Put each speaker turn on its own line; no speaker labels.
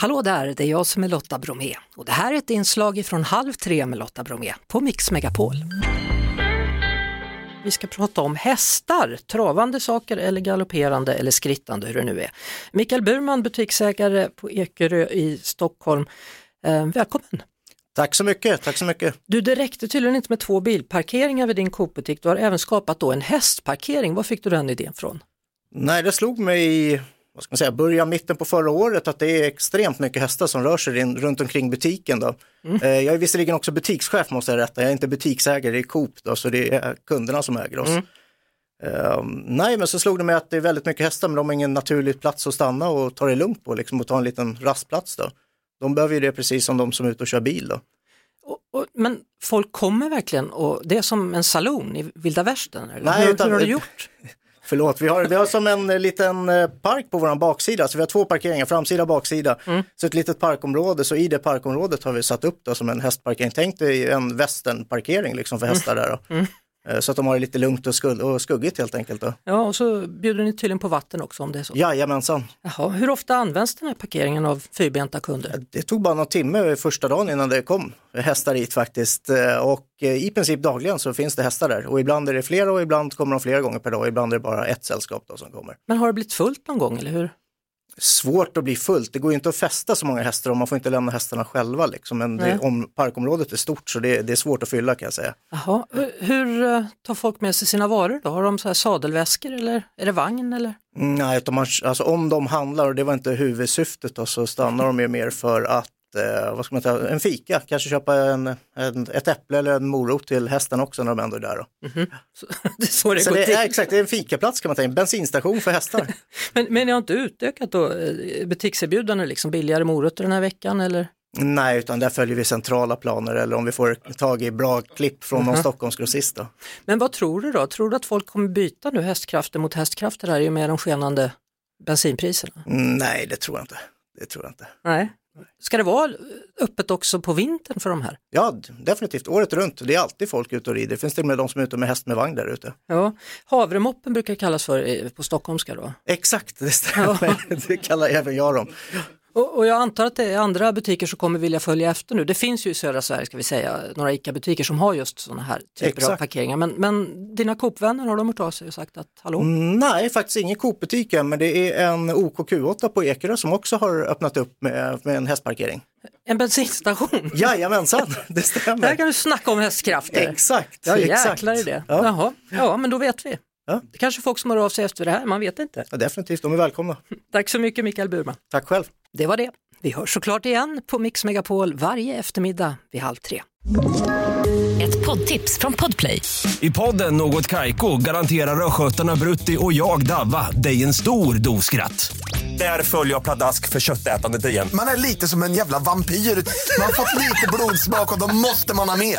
Hallå där, det är jag som är Lotta Bromé och det här är ett inslag från Halv tre med Lotta Bromé på Mix Megapol. Vi ska prata om hästar, travande saker eller galopperande eller skrittande hur det nu är. Mikael Burman, butiksägare på Ekerö i Stockholm. Eh, välkommen!
Tack så mycket, tack så mycket.
Du, det räckte tydligen inte med två bilparkeringar vid din Coop-butik. Du har även skapat då en hästparkering. Var fick du den idén från?
Nej, det slog mig i vad ska man säga, början, mitten på förra året att det är extremt mycket hästar som rör sig in, runt omkring butiken. Då. Eh, Jag är visserligen också butikschef måste jag rätta, jag är inte butiksägare i Coop, då, så det är kunderna som äger oss. Eh, nej, men så slog det mig att det är väldigt mycket hästar, men de har ingen naturlig plats att stanna och ta det lugnt på, liksom, och ta en liten rastplats. Då. De behöver ju det precis som de som är ute och kör bil. Då.
Och, och, men folk kommer verkligen och det är som en saloon i vilda västern? eller?
Nej,
hur,
utan-
hur har du gjort?
Förlåt, vi har, vi har som en eh, liten eh, park på vår baksida, så vi har två parkeringar, framsida och baksida.
Mm.
Så ett litet parkområde, så i det parkområdet har vi satt upp då som en hästparkering. Tänk dig en västernparkering liksom
Mm.
för hästar där då. Eh, Så att de har det lite lugnt och, skugg, och skuggigt helt enkelt. Då.
Ja, och så bjuder ni tydligen på vatten också om det är så.
Jajamensan,
Jaha, hur ofta används den här parkeringen av fyrbenta kunder?
det tog bara någon timme första dagen innan det kom hästar hit faktiskt. Eh, Och eh, i princip dagligen så finns det hästar där. Och ibland är det flera och ibland kommer de flera gånger per dag. Och ibland är det bara ett sällskap då som kommer.
Men har det blivit fullt någon gång eller hur?
svårt att bli fullt. Det går ju inte att fästa så många hästar och man får inte lämna hästarna själva. Liksom. Men det, om parkområdet är stort så det, det är svårt att fylla kan jag säga.
Jaha, hur, hur eh, tar folk med sig sina varor då? Har de så här sadelväskor eller är det vagn eller?
Mm, Nej, utan man, alltså, om de handlar, och det var inte huvudsyftet, då, så stannar de ju mer för att Eh, vad ska man ta, en fika, kanske köpa en, en, ett äpple eller en morot till hästen också när de ändå är där. Då.
Det är så det
Så
går
det
till.
är, exakt, det är en fikaplats kan man tänka, en bensinstation för hästar.
Men, men ni har inte utökat då eh, butikserbjudanden, liksom billigare morötter den här veckan eller?
Nej, utan där följer vi centrala planer eller om vi får tag i bra klipp från
Mhm.
någon Stockholmsgrossist. Då.
Men vad tror du då? Tror du att folk kommer byta nu hästkrafter mot hästkrafter här i och med de skenande bensinpriserna?
Mm, Nej, det tror jag inte. Det tror jag inte.
Nej. Ska det vara öppet också på vintern för de här?
Ja, d- definitivt. Året runt. Det är alltid folk ute och rider. Det finns till och med de som är ute med häst med vagn där ute.
Ja. Havremoppen brukar det kallas för eh, på stockholmska då.
Exakt, det stämmer. Det kallar även jag dem.
Och, och jag antar att det är andra butiker som kommer vilja följa efter nu. Det finns ju i södra Sverige, ska vi säga, några ICA-butiker som har just sådana här typer av
Exakt.
parkeringar. Men, men dina Coop-vänner, har de hört av sig och sagt att hallå?
Mm. Nej, faktiskt ingen Coop-butik än, men det är en OKQ8 på Ekerö som också har öppnat upp med, med en hästparkering.
En bensinstation?
Jajamensan, det
Där
stämmer.
kan du snacka om hästkrafter.
Exakt,
Ja,
exakt.
jäklar i det.
Ja.
Jaha. ja, men då vet vi.
Ja.
Det kanske är folk som hör av sig efter det här, man vet inte.
Ja, definitivt, de är välkomna.
Tack så mycket Mikael Burman.
Tack själv.
Det var det. Vi hörs såklart igen på Mix Megapol varje eftermiddag vid halv tre.
Ett poddtips från Podplay.
I podden Något Kaiko garanterar östgötarna Brutti och jag, Davva, dig en stor dos skratt. Där följer jag pladask för köttätandet igen.
Man är lite som en jävla vampyr. Man har fått lite blodsmak och då måste man ha mer.